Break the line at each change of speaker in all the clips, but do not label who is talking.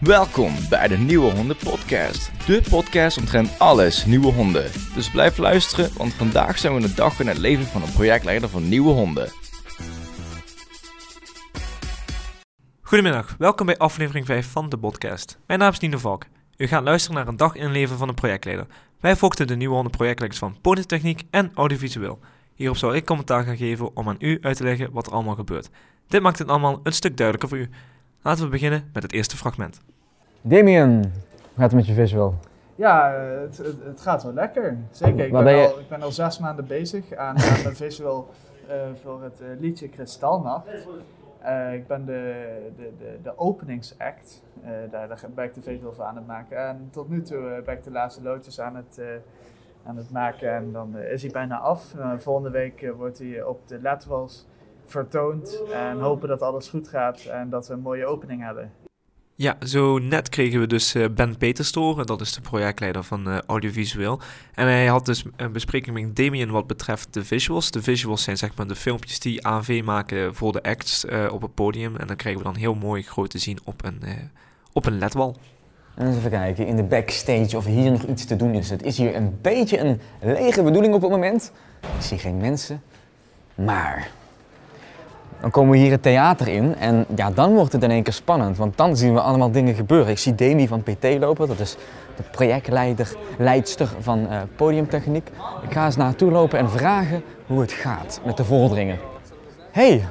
Welkom bij de Nieuwe Honden Podcast. De podcast omtrent alles nieuwe honden. Dus blijf luisteren, want vandaag zijn we in de dag in het leven van een projectleider van nieuwe honden.
Goedemiddag, welkom bij aflevering 5 van de podcast. Mijn naam is Nino Valk. U gaat luisteren naar een dag in het leven van een projectleider. Wij volgden de nieuwe honden projectleiders van Ponytechniek en Audiovisueel. Hierop zal ik commentaar gaan geven om aan u uit te leggen wat er allemaal gebeurt. Dit maakt het allemaal een stuk duidelijker voor u. Laten we beginnen met het eerste fragment.
Damien, hoe gaat het met je visual?
Ja, eh, het, het, het gaat wel lekker. Zeker. Ik
Waar
ben,
ben je-
al, ik ben al zes maanden bezig aan, aan mijn visual eh, voor het eh, liedje Kristalnacht. Eh, ik ben de, de, de, de openingsact. Eh, daar, daar ben ik de visual voor aan het maken. En tot nu toe eh, ben ik de laatste loodjes aan het, eh, aan het maken. En dan eh, is hij bijna af. Eh, volgende week eh, wordt hij op de Letwals vertoond. En hopen dat alles goed gaat en dat we een mooie opening hebben.
Ja, zo net kregen we dus eh, Ben Peters te horen, dat is de projectleider van eh, Audiovisueel. En hij had dus een bespreking met Damien wat betreft de visuals. De visuals zijn zeg maar de filmpjes die AV maken voor de acts eh, op het podium. En dat krijgen we dan heel mooi groot te zien op een, eh, op een ledwal.
En eens even kijken in de backstage of hier nog iets te doen is. Het is hier een beetje een lege bedoeling op het moment. Ik zie geen mensen. Maar. Dan komen we hier het theater in en ja, dan wordt het in één keer spannend. Want dan zien we allemaal dingen gebeuren. Ik zie Demi van PT lopen, dat is de projectleider, leidster van eh, podiumtechniek. Ik ga eens naartoe lopen en vragen hoe het gaat met de vorderingen. Hey,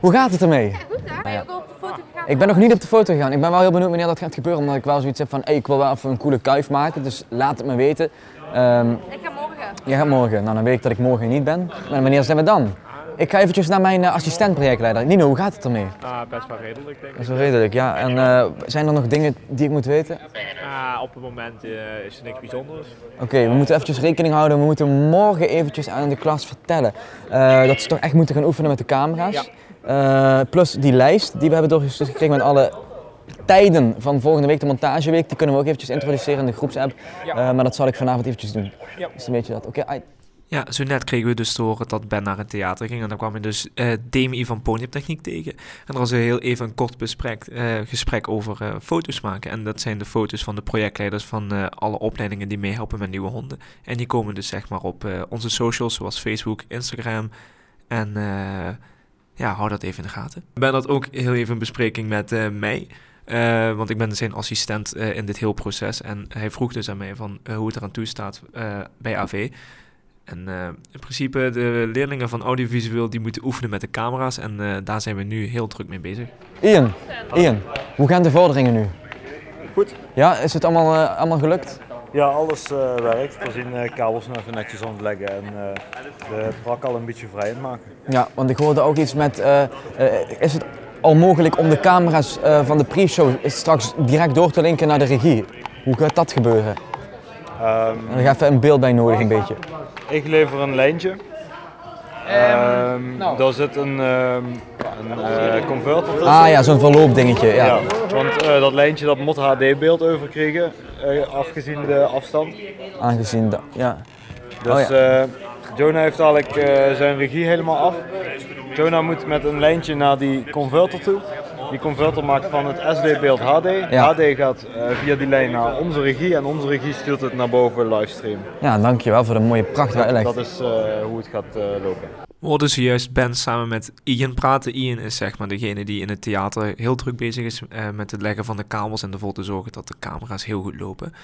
hoe gaat het ermee?
Goed hè? Ben je ook al op de foto gegaan?
Ik ben nog niet op de foto gegaan. Ik ben wel heel benieuwd wanneer dat gaat gebeuren. Omdat ik wel zoiets heb van, hey, ik wil wel even een coole kuif maken. Dus laat het me weten. Ehm
Ik ga morgen.
jij gaat morgen. Nou, dan weet ik dat ik morgen niet ben. Maar wanneer zijn we dan? Ik ga eventjes naar mijn eh, assistent-projectleider. Nino, hoe gaat het ermee?
Ah, best wel redelijk, denk
Dat
ik.
is wel redelijk, ja. En eh, zijn er nog dingen die ik moet weten?
Ah, op het moment eh, is er niks bijzonders.
Oké, we moeten eventjes rekening houden. We moeten morgen eventjes aan de klas vertellen eh, dat ze toch echt moeten gaan oefenen met de camera's. Eh, plus die lijst die we hebben doorgestuurd gekregen met alle tijden van volgende week, de montageweek. Die kunnen we ook eventjes introduceren in de groepsapp.
Ja.
Eh, maar dat zal ik vanavond eventjes doen.
Ja.
Dus dan weet je dat. Oké, ai.
Ja, zo net kregen we dus te horen dat Ben naar het theater ging. En dan kwam je dus eh Demi van Ponytechniek tegen. En er was heel even een kort besprek, eh, gesprek over eh, foto's maken. En dat zijn de foto's van de projectleiders van eh, alle opleidingen die meehelpen met nieuwe honden. En die komen dus zeg maar op eh, onze socials, zoals Facebook, Instagram. En eh, ja, hou dat even in de gaten. Ben had ook heel even een bespreking met eh, mij. Eh, want ik ben zijn assistent eh, in dit heel proces. En hij vroeg dus aan mij van, eh, hoe het eraan toe staat eh, bij AV. En eh, in principe, de leerlingen van audiovisueel die moeten oefenen met de camera's. En eh, daar zijn we nu heel druk mee bezig.
Ian, Ian, hoe gaan de vorderingen nu?
Goed.
Ja, is het allemaal, eh, allemaal gelukt?
Ja, alles eh, werkt. We zijn eh, kabels nog even netjes aan het leggen en eh, de prak al een beetje vrij aan het maken.
Ja, want ik hoorde ook iets met, eh, eh, is het al mogelijk om de camera's eh, van de pre-show straks direct door te linken naar de regie? Hoe gaat dat gebeuren?
Ehm,
En dan ga even een beeld bij nodig, een beetje.
ik lever een lijntje. Ehm, Daar zit een, ehm, een eh, converter tussen.
Ah ja, zo'n verloopdingetje. Ja.
Ja, want eh, dat lijntje dat moet HD-beeld overkrijgen, eh, afgezien de afstand.
Aangezien dat. Ja.
Dus
Oh
eh, Jonah heeft eigenlijk eh, zijn regie helemaal af. Jonah moet met een lijntje naar die converter toe. Die converter maakt van het SD-beeld HD.
Ja.
HD gaat eh, via die lijn naar onze regie en onze regie stuurt het naar boven livestream.
ja, dankjewel voor de mooie prachtige uitleg.
Dat is eh, hoe het gaat eh, lopen.
We hoorden zojuist Ben samen met Ian praten. Ian is zeg maar degene die in het theater heel druk bezig is eh, met het leggen van de kabels en ervoor te zorgen dat de camera's heel goed lopen.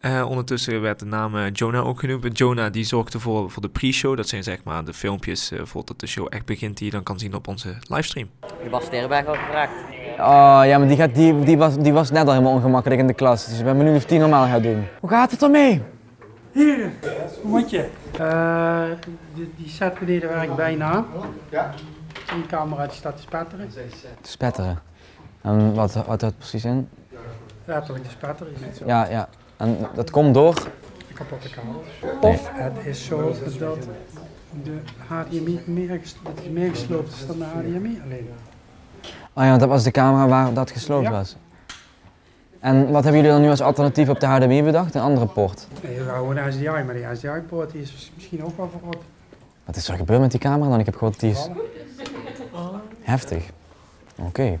Eh, ondertussen werd de naam eh, Jonah ook genoemd. Jonah die zorgt ervoor voor de pre-show. Dat zijn zeg maar de filmpjes eh, voordat de show echt begint die je dan kan zien op onze livestream.
De Bas Sterrenberg al gevraagd.
Oh ja, maar die, gaat, die, die, was, die was net al helemaal ongemakkelijk in de klas. Dus ik ben benieuwd of die normaal gaat doen. Hoe gaat het ermee?
Hoe moet je? Eh, die, die set beneden werkt bijna. Ja. Een camera die staat te spetteren.
Spetteren. En wat wat houdt dat precies in?
Letterlijk te spetteren. Je ziet zo.
Ja, ja. En dat komt door.
Kapotte kabels. Of het is zo dat de HDMI meer, ges- dat die meer gesloopt is dan de HDMI alleen.
Oh ja, want dat was de camera waar dat gesloopt
Ja.
was. En wat hebben jullie dan nu als alternatief op de HDMI bedacht? Een andere poort.
Nee, je wou gewoon een SDI, maar die SDI-poort is misschien ook wel verrot.
Wat is er gebeurd met die camera dan? Ik heb gehoord, die is heftig. Oké.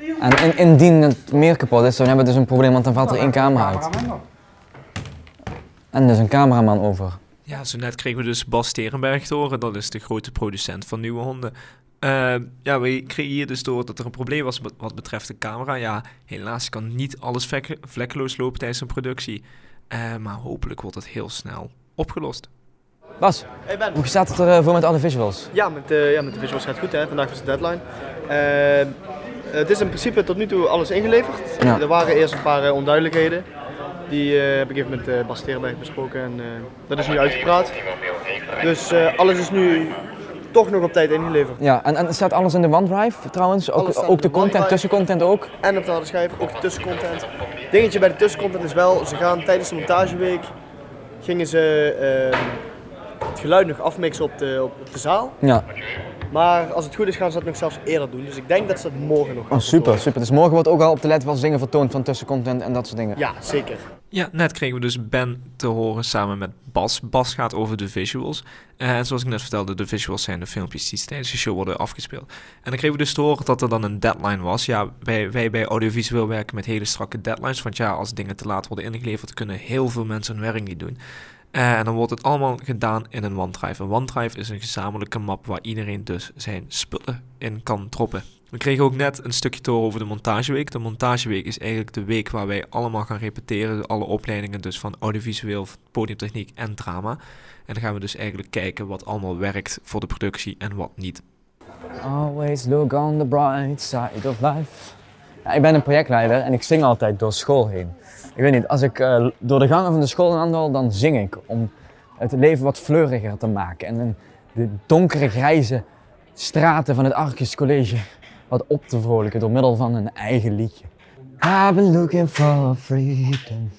Leon,
En, en indien het meer kapot is, dan hebben we dus een probleem, want dan valt er één camera uit.
Cameraman nog.
En dus een cameraman over.
Ja, zo net kregen we dus Bas Terenberg te horen. Dat is de grote producent van nieuwe honden. Eh, ja, we kregen hier dus te horen dat er een probleem was be- wat betreft de camera. Ja, helaas kan niet alles vlek- vlekkeloos lopen tijdens een productie. Eh, maar hopelijk wordt het heel snel opgelost.
Bas, hoe staat het er eh, voor met alle visuals?
Ja, met, eh, ja, met de visuals gaat het goed. Hè. Vandaag was de deadline. Eh, het is in principe tot nu toe alles ingeleverd.
Ja.
Er waren eerst een paar eh, onduidelijkheden. Die eh, heb ik even met eh Bas Terenberg besproken en eh, dat is nu uitgepraat. Dus eh, alles is nu toch nog op tijd ingeleverd.
Ja, en, en staat alles in de OneDrive trouwens?
Alles
Ook,
staat
ook
in
de
de
content,
OneDrive.
tussencontent ook?
En op de harde schijf, ook de tussencontent. Dingetje bij de tussencontent is wel, ze gaan tijdens de montageweek gingen ze eh, het geluid nog afmixen op de, op, op de zaal.
Ja,
Maar als het goed is gaan ze dat nog zelfs eerder doen. Dus ik denk dat ze dat morgen nog gaan
oh, super,
vertonen.
super. Dus morgen wordt ook al op de LED wel zingen vertoond van tussencontent en dat soort dingen.
Ja, zeker.
Ja, net kregen we dus Ben te horen samen met Bas. Bas gaat over de visuals. Eh, en zoals ik net vertelde, de visuals zijn de filmpjes die tijdens de show worden afgespeeld. En dan kregen we dus te horen dat er dan een deadline was. Ja, wij, wij bij audiovisueel werken met hele strakke deadlines. Want ja, als dingen te laat worden ingeleverd, kunnen heel veel mensen hun werk niet doen. Eh, en dan wordt het allemaal gedaan in een OneDrive. Een OneDrive is een gezamenlijke map waar iedereen dus zijn spullen in kan droppen. We kregen ook net een stukje door over de montageweek. De montageweek is eigenlijk de week waar wij allemaal gaan repeteren. Alle opleidingen dus van audiovisueel, podiumtechniek en drama. En dan gaan we dus eigenlijk kijken wat allemaal werkt voor de productie en wat niet.
Always look on the bright side of life. Ja, ik ben een projectleider en ik zing altijd door school heen. Ik weet niet, als ik eh, door de gangen van de school wandel, dan zing ik om het leven wat fleuriger te maken. En in de donkere, grijze straten van het Arcus College wat op te vrolijken door middel van een eigen liedje. I've been looking for freedom.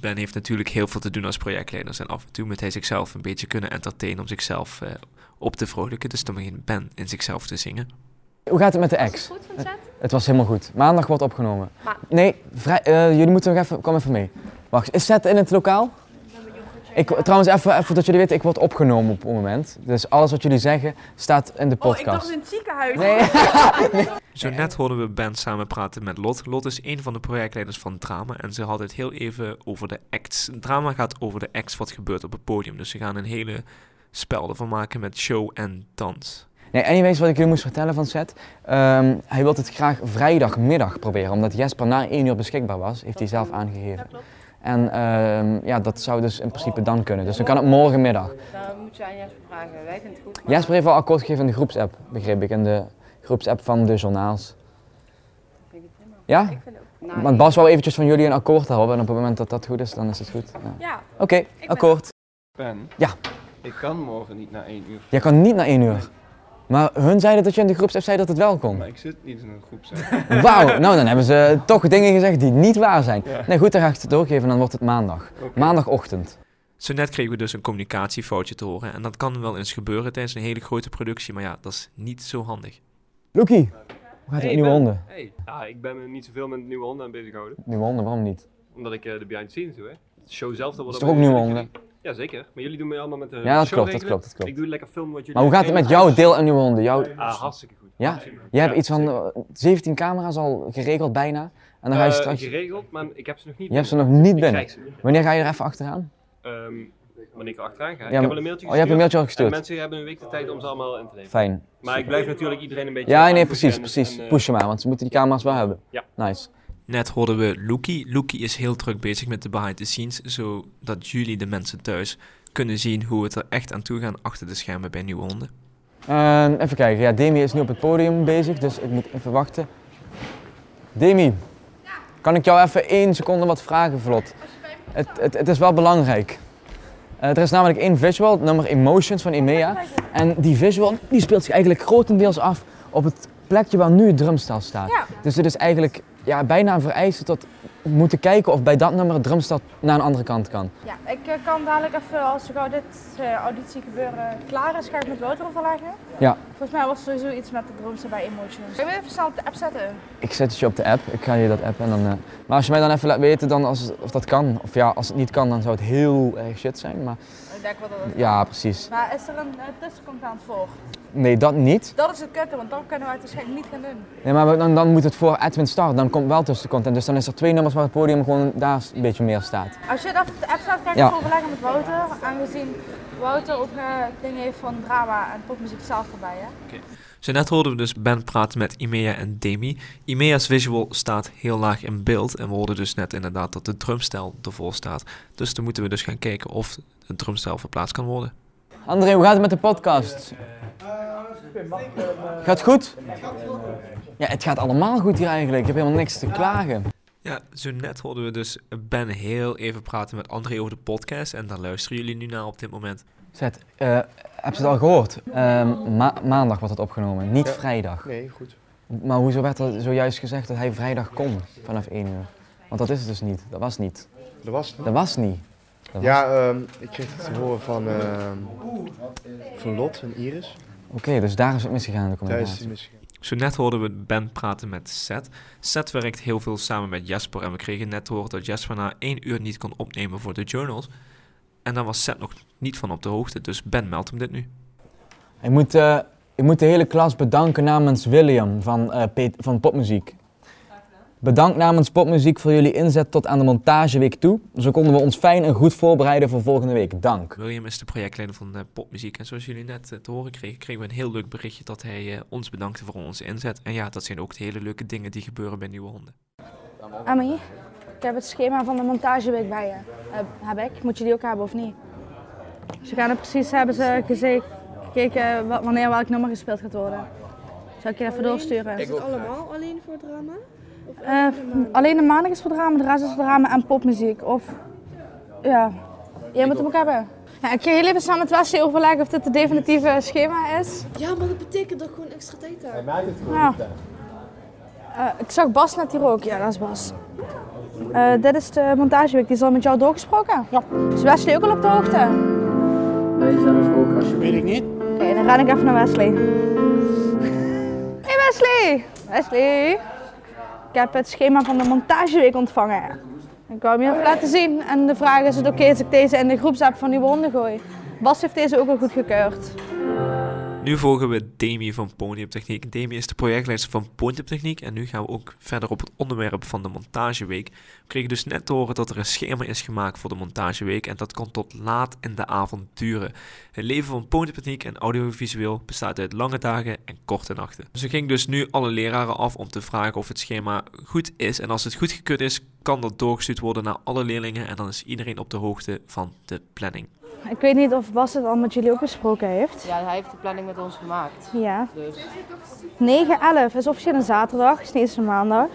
Ben heeft natuurlijk heel veel te doen als projectleider. En af en toe moet hij zichzelf een beetje kunnen entertainen om zichzelf eh, op te vrolijken. Dus dan begint Ben in zichzelf te zingen.
Hoe gaat het met de
Is het
ex?
goed, Vincent?
Het was helemaal goed. Maandag wordt opgenomen.
Maar-
Nee, vrij, eh, jullie moeten nog even... Kom even mee. Wacht, is Zet in het lokaal? Ik, trouwens, even, even dat jullie weten, ik word opgenomen op het moment. Dus alles wat jullie zeggen staat in de
Oh,
podcast.
ik dacht in het ziekenhuis.
Nee.
Zo net hoorden we Ben samen praten met Lot. Lot is een van de projectleiders van Drama en ze had het heel even over de acts. Drama gaat over de acts wat gebeurt op het podium. Dus ze gaan een hele spel ervan maken met show en dans.
Nee, anyways, wat ik jullie moest vertellen van Seth. ehm, hij wil het graag vrijdagmiddag proberen, omdat Jesper na één uur beschikbaar was, heeft hij zelf
Ja,
aangegeven.
klopt.
En ehm, ja, dat zou dus in principe dan kunnen. Dus dan kan het morgenmiddag.
Dan moet je aan Jasper vragen. Wij vinden het goed. maar-
Jesper heeft al akkoord gegeven in de groepsapp, begreep ik. In de groepsapp van de journaals.
Vind ik het prima.
Ja?
Ik vind het ook. Nou,
Want Bas wou eventjes van jullie een akkoord houden en op het moment dat dat goed is, dan is het goed. Ja.
Ja,
Oké, akkoord.
Ben?
Ja.
Ik kan morgen niet na één uur.
Jij kan niet na één uur. Maar hun zeiden dat je in de groepsapp zei dat het wel kon.
Maar ik zit niet in een groep. zeg.
Wauw, nou dan hebben ze toch dingen gezegd die niet waar zijn.
Ja.
Nee goed, dan ga ik het doorgeven dan wordt het maandag.
Oké.
Maandagochtend.
Zo net kregen we dus een communicatiefoutje te horen. En dat kan wel eens gebeuren tijdens een hele grote productie. Maar ja, dat is niet zo handig.
Loekie, hoe gaat het met nieuwe honden?
Hey. Ah, ik ben me niet zoveel met nieuwe honden aan bezig houden.
Nieuwe honden, waarom niet?
Omdat ik eh, de behind the scenes doe, hè. De show zelf, dat
Dat
wordt
is toch ook nieuwe honden?
Ja, zeker. Maar jullie doen mij allemaal met de
Ja, dat
show
klopt, dat
regelen.
klopt, dat klopt.
Ik doe lekker filmen wat jullie...
Maar hoe gaat het met jouw deel aan nieuwe honden? Jouw...
Ah, hartstikke goed.
Ja?
Hartstikke goed.
Jij hebt
Ja,
iets van eh, 17 camera's al geregeld bijna. En dan ga je
eh,
straks...
geregeld, maar ik heb ze nog niet.
Je hebt ze nog niet
Ik
binnen.
krijg ze.
Wanneer ga je er even achteraan?
Ehm, wanneer ik achteraan ga.
Ja,
ik heb
maar-
al een mailtje
Oh, je hebt een
gestuurd.
mailtje al
En
gestuurd.
mensen hebben een week de tijd om ze allemaal in te leveren.
Fijn.
Maar ik blijf natuurlijk iedereen een beetje...
Ja, nee,
aanpushen
precies,
en-
precies.
en, eh,
Push hem aan, want ze moeten die camera's wel hebben.
Ja.
Nice.
Net hoorden we Loekie. Loekie is heel druk bezig met de behind the scenes. Zodat jullie, de mensen thuis, kunnen zien hoe het er echt aan toe gaat achter de schermen bij nieuwe honden.
Ehm, even kijken, ja, Demi is nu op het podium bezig, dus ik moet even wachten. Demi, kan ik jou even één seconde wat vragen, vlot? Het, het, het is wel belangrijk. Eh, er is namelijk één visual, nummer Emotions van Emea. En die visual die speelt zich eigenlijk grotendeels af op het plekje waar nu het drumstel staat.
Ja.
Dus dit is eigenlijk ja, bijna een vereiste tot moeten kijken of bij dat nummer het drumstel naar een andere kant kan.
ja, ik eh, kan dadelijk even, als gauw dit eh, auditie gebeuren klaar is, ga ik met Wouter overleggen.
Ja.
Volgens mij was er sowieso iets met de drumster bij Emotions. Kunnen we even snel op de app zetten?
Ik zet het je op de app. Ik ga je dat appen en dan. eh, Maar als je mij dan even laat weten dan als, het- of dat kan. Of ja, als het niet kan, dan zou het heel erg shit zijn. Maar
Ik denk wel dat het...
ja, precies.
Maar is er een uh, tussencontent eh, voor?
Nee, dat niet.
Dat is het kutte, want dan kunnen we het waarschijnlijk niet gaan doen.
Nee, maar we- dan, dan moet het voor Edwin Start. Dan komt wel tussen content. Dus dan is er twee nummers waar het podium gewoon daar een beetje meer staat.
Als je dat op de app staat, ga ik
Ja.
het overleggen met Wouter. Aangezien Wouter ook eh dingen heeft van drama en popmuziek zelf erbij. Hè?
Zo net hoorden we dus Ben praten met Imea en Demi. Imea's visual staat heel laag in beeld en we hoorden dus net inderdaad dat de drumstijl ervoor staat. Dus dan moeten we dus gaan kijken of de drumstijl verplaatst kan worden.
André, hoe gaat het met de podcast? Gaat goed? Ja, het gaat allemaal goed hier eigenlijk. Ik heb helemaal niks te klagen.
Ja, zo net hoorden we dus Ben heel even praten met André over de podcast en daar luisteren jullie nu naar op dit moment.
Zet, eh, heb je het al gehoord? Ehm, ma- maandag wordt het opgenomen, niet
Ja.
vrijdag.
Nee, goed.
Maar hoezo werd er zojuist gezegd dat hij vrijdag kon vanaf 1 uur? Want dat is het dus niet. Dat was niet.
Dat was het niet?
Dat was niet. Dat was-
Ja, ehm, ik kreeg het te horen van, ehm, van Lot en Iris.
Oh,
Oké, dus daar is het misgegaan in de communicatie.
Zo net hoorden we Ben praten met Seth. Seth werkt heel veel samen met Jasper en we kregen net te horen dat Jasper na één uur niet kon opnemen voor de journals. En daar was Seth nog niet van op de hoogte, dus Ben meldt hem dit nu.
Ik moet, eh, ik moet de hele klas bedanken namens William van, eh, Pet- van Popmuziek. Bedankt namens Popmuziek voor jullie inzet tot aan de montageweek toe. Zo konden we ons fijn en goed voorbereiden voor volgende week. Dank.
William is de projectleider van eh, popmuziek. En zoals jullie net eh, te horen kregen, kregen we een heel leuk berichtje dat hij eh, ons bedankte voor onze inzet. En ja, dat zijn ook de hele leuke dingen die gebeuren bij Nieuwe Honden.
Ami, ik heb het schema van de montageweek bij je. Eh, heb ik. Moet je die ook hebben of niet? Ze gaan er precies, hebben ze geze- gekeken wa- wanneer welk nummer gespeeld gaat worden. Zal ik je even doorsturen?
Is het allemaal alleen voor drama? Of
Eh, alleen de maandag is voor drama, de rest is voor drama en popmuziek. Of, ja, jij moet hem ook hebben. Ja, ik ga heel even samen met Wesley overleggen of dit het definitieve schema is.
Ja, maar dat betekent dat ik gewoon extra tijd heb. Hij maakt het
Ja. Eh, ik zag Bas net hier ook. Ja, dat is Bas. Eh, dit is de montageweek. Die is al met jou doorgesproken. Ja. Is Wesley ook al op de hoogte?
Wij zelf ook, alsjeblieft. Weet ik niet.
Oké, dan ren ik even naar Wesley. Hey Wesley! Wesley! Ik heb het schema van de montageweek ontvangen. Ik wou hem je even laten zien. En de vraag is het oké als ik deze in de groepsapp van Nieuwe Honden gooi? Bas heeft deze ook al goed gekeurd.
Nu volgen we Demi van Ponyup Techniek. Demi is de projectleider van Ponyup Techniek. En nu gaan we ook verder op het onderwerp van de montageweek. We kregen dus net te horen dat er een schema is gemaakt voor de montageweek. En dat kan tot laat in de avond duren. Het leven van Ponyup Techniek en audiovisueel bestaat uit lange dagen en korte nachten. Ze ging dus nu alle leraren af om te vragen of het schema goed is. En als het goedgekeurd is, kan dat doorgestuurd worden naar alle leerlingen. En dan is iedereen op de hoogte van de planning.
Ik weet niet of Bas het al met jullie ook besproken heeft.
Ja, hij heeft de planning met ons gemaakt.
Ja.
Dus
9-11 is officieel een zaterdag, is niet eens een maandag.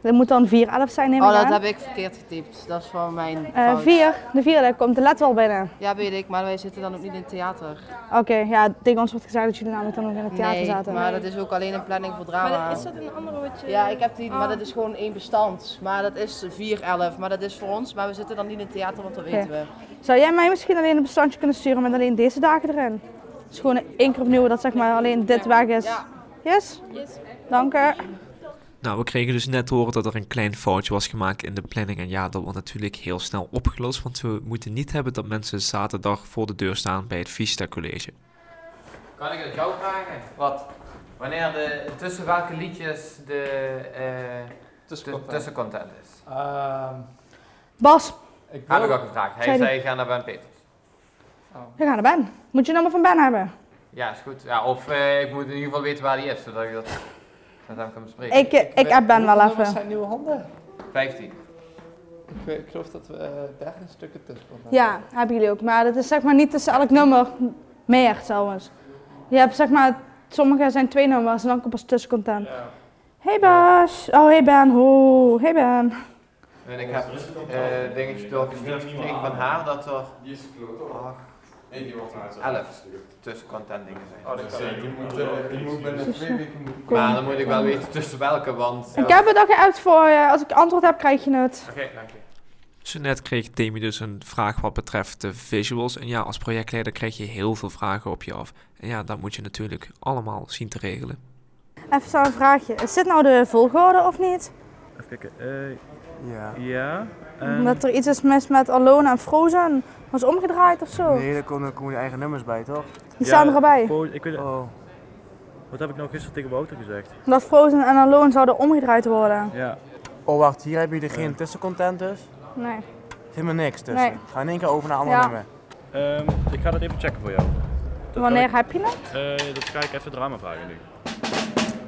Dat moet dan 4-11 zijn, neem ik
oh, dat
aan.
heb ik verkeerd getypt. Dat is van mijn
Eh,
fout.
vier, de vierde komt de let wel binnen.
Ja, weet ik, maar wij zitten dan ook niet in het theater.
Oké, ja, tegen ons wordt gezegd dat jullie namelijk dan ook in het theater
nee,
zaten.
maar dat is ook alleen een planning voor drama.
Maar is dat een andere wat je...
Ja, ik heb die, maar
Ah.
dat is gewoon één bestand. Maar dat is 4-11, maar dat is voor ons. Maar we zitten dan niet in het theater, want dat
Oké.
weten we.
Zou jij mij misschien alleen een bestandje kunnen sturen met alleen deze dagen erin? Dus gewoon één keer opnieuw dat zeg maar alleen dit weg is. Yes? Dank u.
Nou, we kregen dus net te horen dat er een klein foutje was gemaakt in de planning. En ja, dat wordt natuurlijk heel snel opgelost. Want we moeten niet hebben dat mensen zaterdag voor de deur staan bij het Vista College.
Kan ik het jou vragen? Wat? Wanneer de, tussen welke liedjes de eh, tu- tussencontent is?
Bas,
Heb ik al gevraagd. Hij
Zei die-
zei, ga naar Ben Peters.
we gaan naar Ben. Moet je nummer van Ben hebben?
Ja, is goed. Ja, of eh, ik moet in ieder geval weten waar hij is, zodat ik dat met hem kan bespreken.
Ik, eh, ik app Ben wel even.
nieuwe handen?
15.
Ik, weet- ik geloof dat we eh, daar een stukken tussen konden.
Ja, hebben jullie ook. Maar dat is zeg maar niet tussen elk nummer meer trouwens. Je hebt zeg maar, sommige zijn twee nummers en dan komt pas tussencontent. Hey Bas. Oh, hey Ben. Ho. Hey Ben.
En ik heb eh dingetje doorgestuurd gekregen van haar dat er... Die is Nee, die wordt eruit. 11 tussencontent dingen zijn. Oh,
dat kan. Die moet, eh, die moet binnen twee weken moet-
Maar dan moet ik wel weten tussen welke, want...
Dus, Ik heb het al uit voor je. Als ik antwoord heb, krijg je het.
Oké, dank je.
Zo net kreeg Demi dus een vraag wat betreft de visuals. En ja, als projectleider krijg je heel veel vragen op je af. En ja, dat moet je natuurlijk allemaal zien te regelen.
Even zo'n vraagje. Is dit nou de volgorde of niet?
Even kijken. ja. Ja.
Ehm.
en-
Omdat er iets is mis met Alone en Frozen. Was omgedraaid of zo?
daar komen, komen die eigen nummers bij, toch? Oh.
Die staan er al bij.
Ik weet, Wat heb ik nou gisteren tegen Wouter gezegd?
Dat Frozen en Alone zouden omgedraaid worden.
Ja.
Oh wacht, hier hebben jullie geen tussencontent dus?
Nee.
Helemaal niks tussen.
Nee.
Ga in één keer over naar andere
Ja.
nummer.
Ehm, ik ga dat even checken voor jou. Dat
Wanneer
kan ik-
heb je het?
Eh, dat ga ik even drama vragen nu.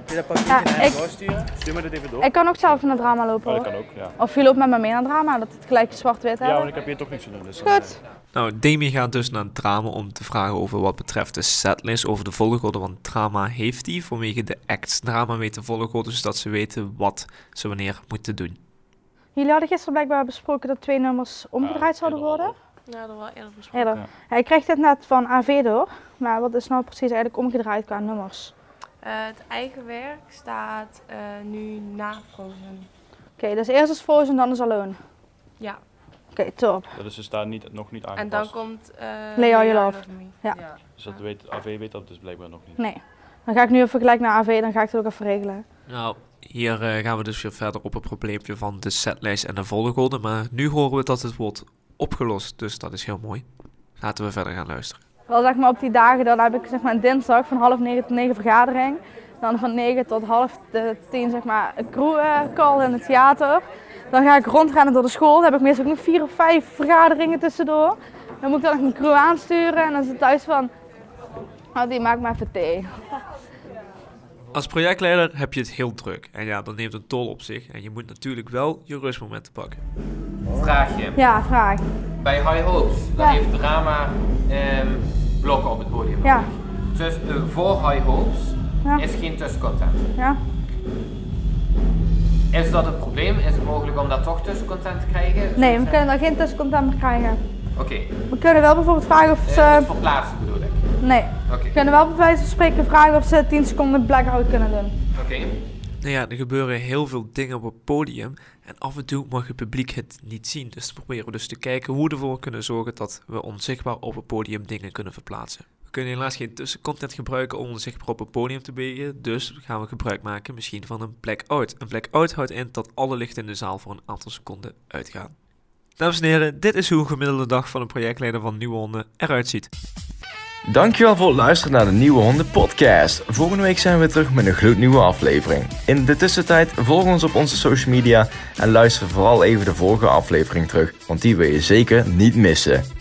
Kun je dat pakketje
Ja, naar hem ik-
doorsturen?
Stuur me dit even door.
Ik kan ook zelf naar drama lopen.
Oh, dat
hoor.
kan ook, ja.
Of je loopt met me mee naar drama, dat het gelijk
Ja,
zwart-wit hebben.
want ik heb hier toch niks te doen. Dus
Goed.
Nou, Demi gaat dus naar drama om te vragen over wat betreft de setlist, over de volgorde, want drama heeft die vanwege de acts. Drama weet de volgorde, zodat dus ze weten wat ze wanneer moeten doen.
Jullie hadden gisteren blijkbaar besproken dat twee nummers omgedraaid
Ah,
zouden worden.
Ja, dat wel eerder besproken.
Eerder. Hij kreeg dit net van AV door, maar wat is nou precies eigenlijk omgedraaid qua nummers?
Eh, het eigen werk staat eh, nu na Frozen.
Oké, dus eerst is Frozen, dan is Alone.
Ja.
Oké, top.
Dat is dus daar niet, nog niet aangepast.
En dan komt eh
Leo, je
Lea
love.
Me.
Ja.
Dus dat weet, AV weet dat dus blijkbaar nog niet.
Nee. Dan ga ik nu even gelijk naar AV, dan ga ik het ook even regelen.
Nou, hier eh, gaan we dus weer verder op het probleempje van de setlijst en de volgorde, maar nu horen we dat het wordt opgelost, dus dat is heel mooi. Laten we verder gaan luisteren.
Wel zeg maar op die dagen, dan heb ik zeg maar dinsdag van half negen tot negen vergadering. Dan van negen tot half eh, tien zeg maar een crew eh, call in het theater. Dan ga ik rondrennen door de school. Dan heb ik meestal ook nog vier of vijf vergaderingen tussendoor. Dan moet ik dan nog een crew aansturen en dan zit thuis van... Oh, die maakt maar even thee.
Als projectleider heb je het heel druk en ja, dat neemt een tol op zich en je moet natuurlijk wel je rustmomenten pakken.
Vraagje.
Ja, vraag.
Bij High Hopes, dat
Ja.
heeft drama ehm, blokken op het podium.
Ja.
Dus eh, voor High Hopes
Ja.
is geen tussencontent.
Ja?
Is dat een probleem? Is het mogelijk om daar toch tussencontent te krijgen?
Nee, we kunnen daar geen tussencontent meer krijgen.
Oké, Eh,
We kunnen wel bijvoorbeeld vragen of ze...
het verplaatsen bedoel ik.
Nee. We kunnen wel bij wijze van spreken vragen of ze 10 seconden blackout kunnen doen.
Oké.
Nou ja, er gebeuren heel veel dingen op het podium en af en toe mag het publiek het niet zien. Dus dan proberen we dus te kijken hoe we ervoor kunnen zorgen dat we onzichtbaar op het podium dingen kunnen verplaatsen. We kunnen helaas geen tussencontent gebruiken om onzichtbaar op het podium te bewegen, dus gaan we gebruik maken misschien van een blackout. Een blackout houdt in dat alle lichten in de zaal voor een aantal seconden uitgaan. Dames en heren, dit is hoe een gemiddelde dag van een projectleider van Nieuwe Honden eruit ziet.
Dankjewel voor het luisteren naar de Nieuwe Honden podcast. Volgende week zijn we weer terug met een gloednieuwe aflevering. In de tussentijd volg ons op onze social media en luister vooral even de vorige aflevering terug, want die wil je zeker niet missen.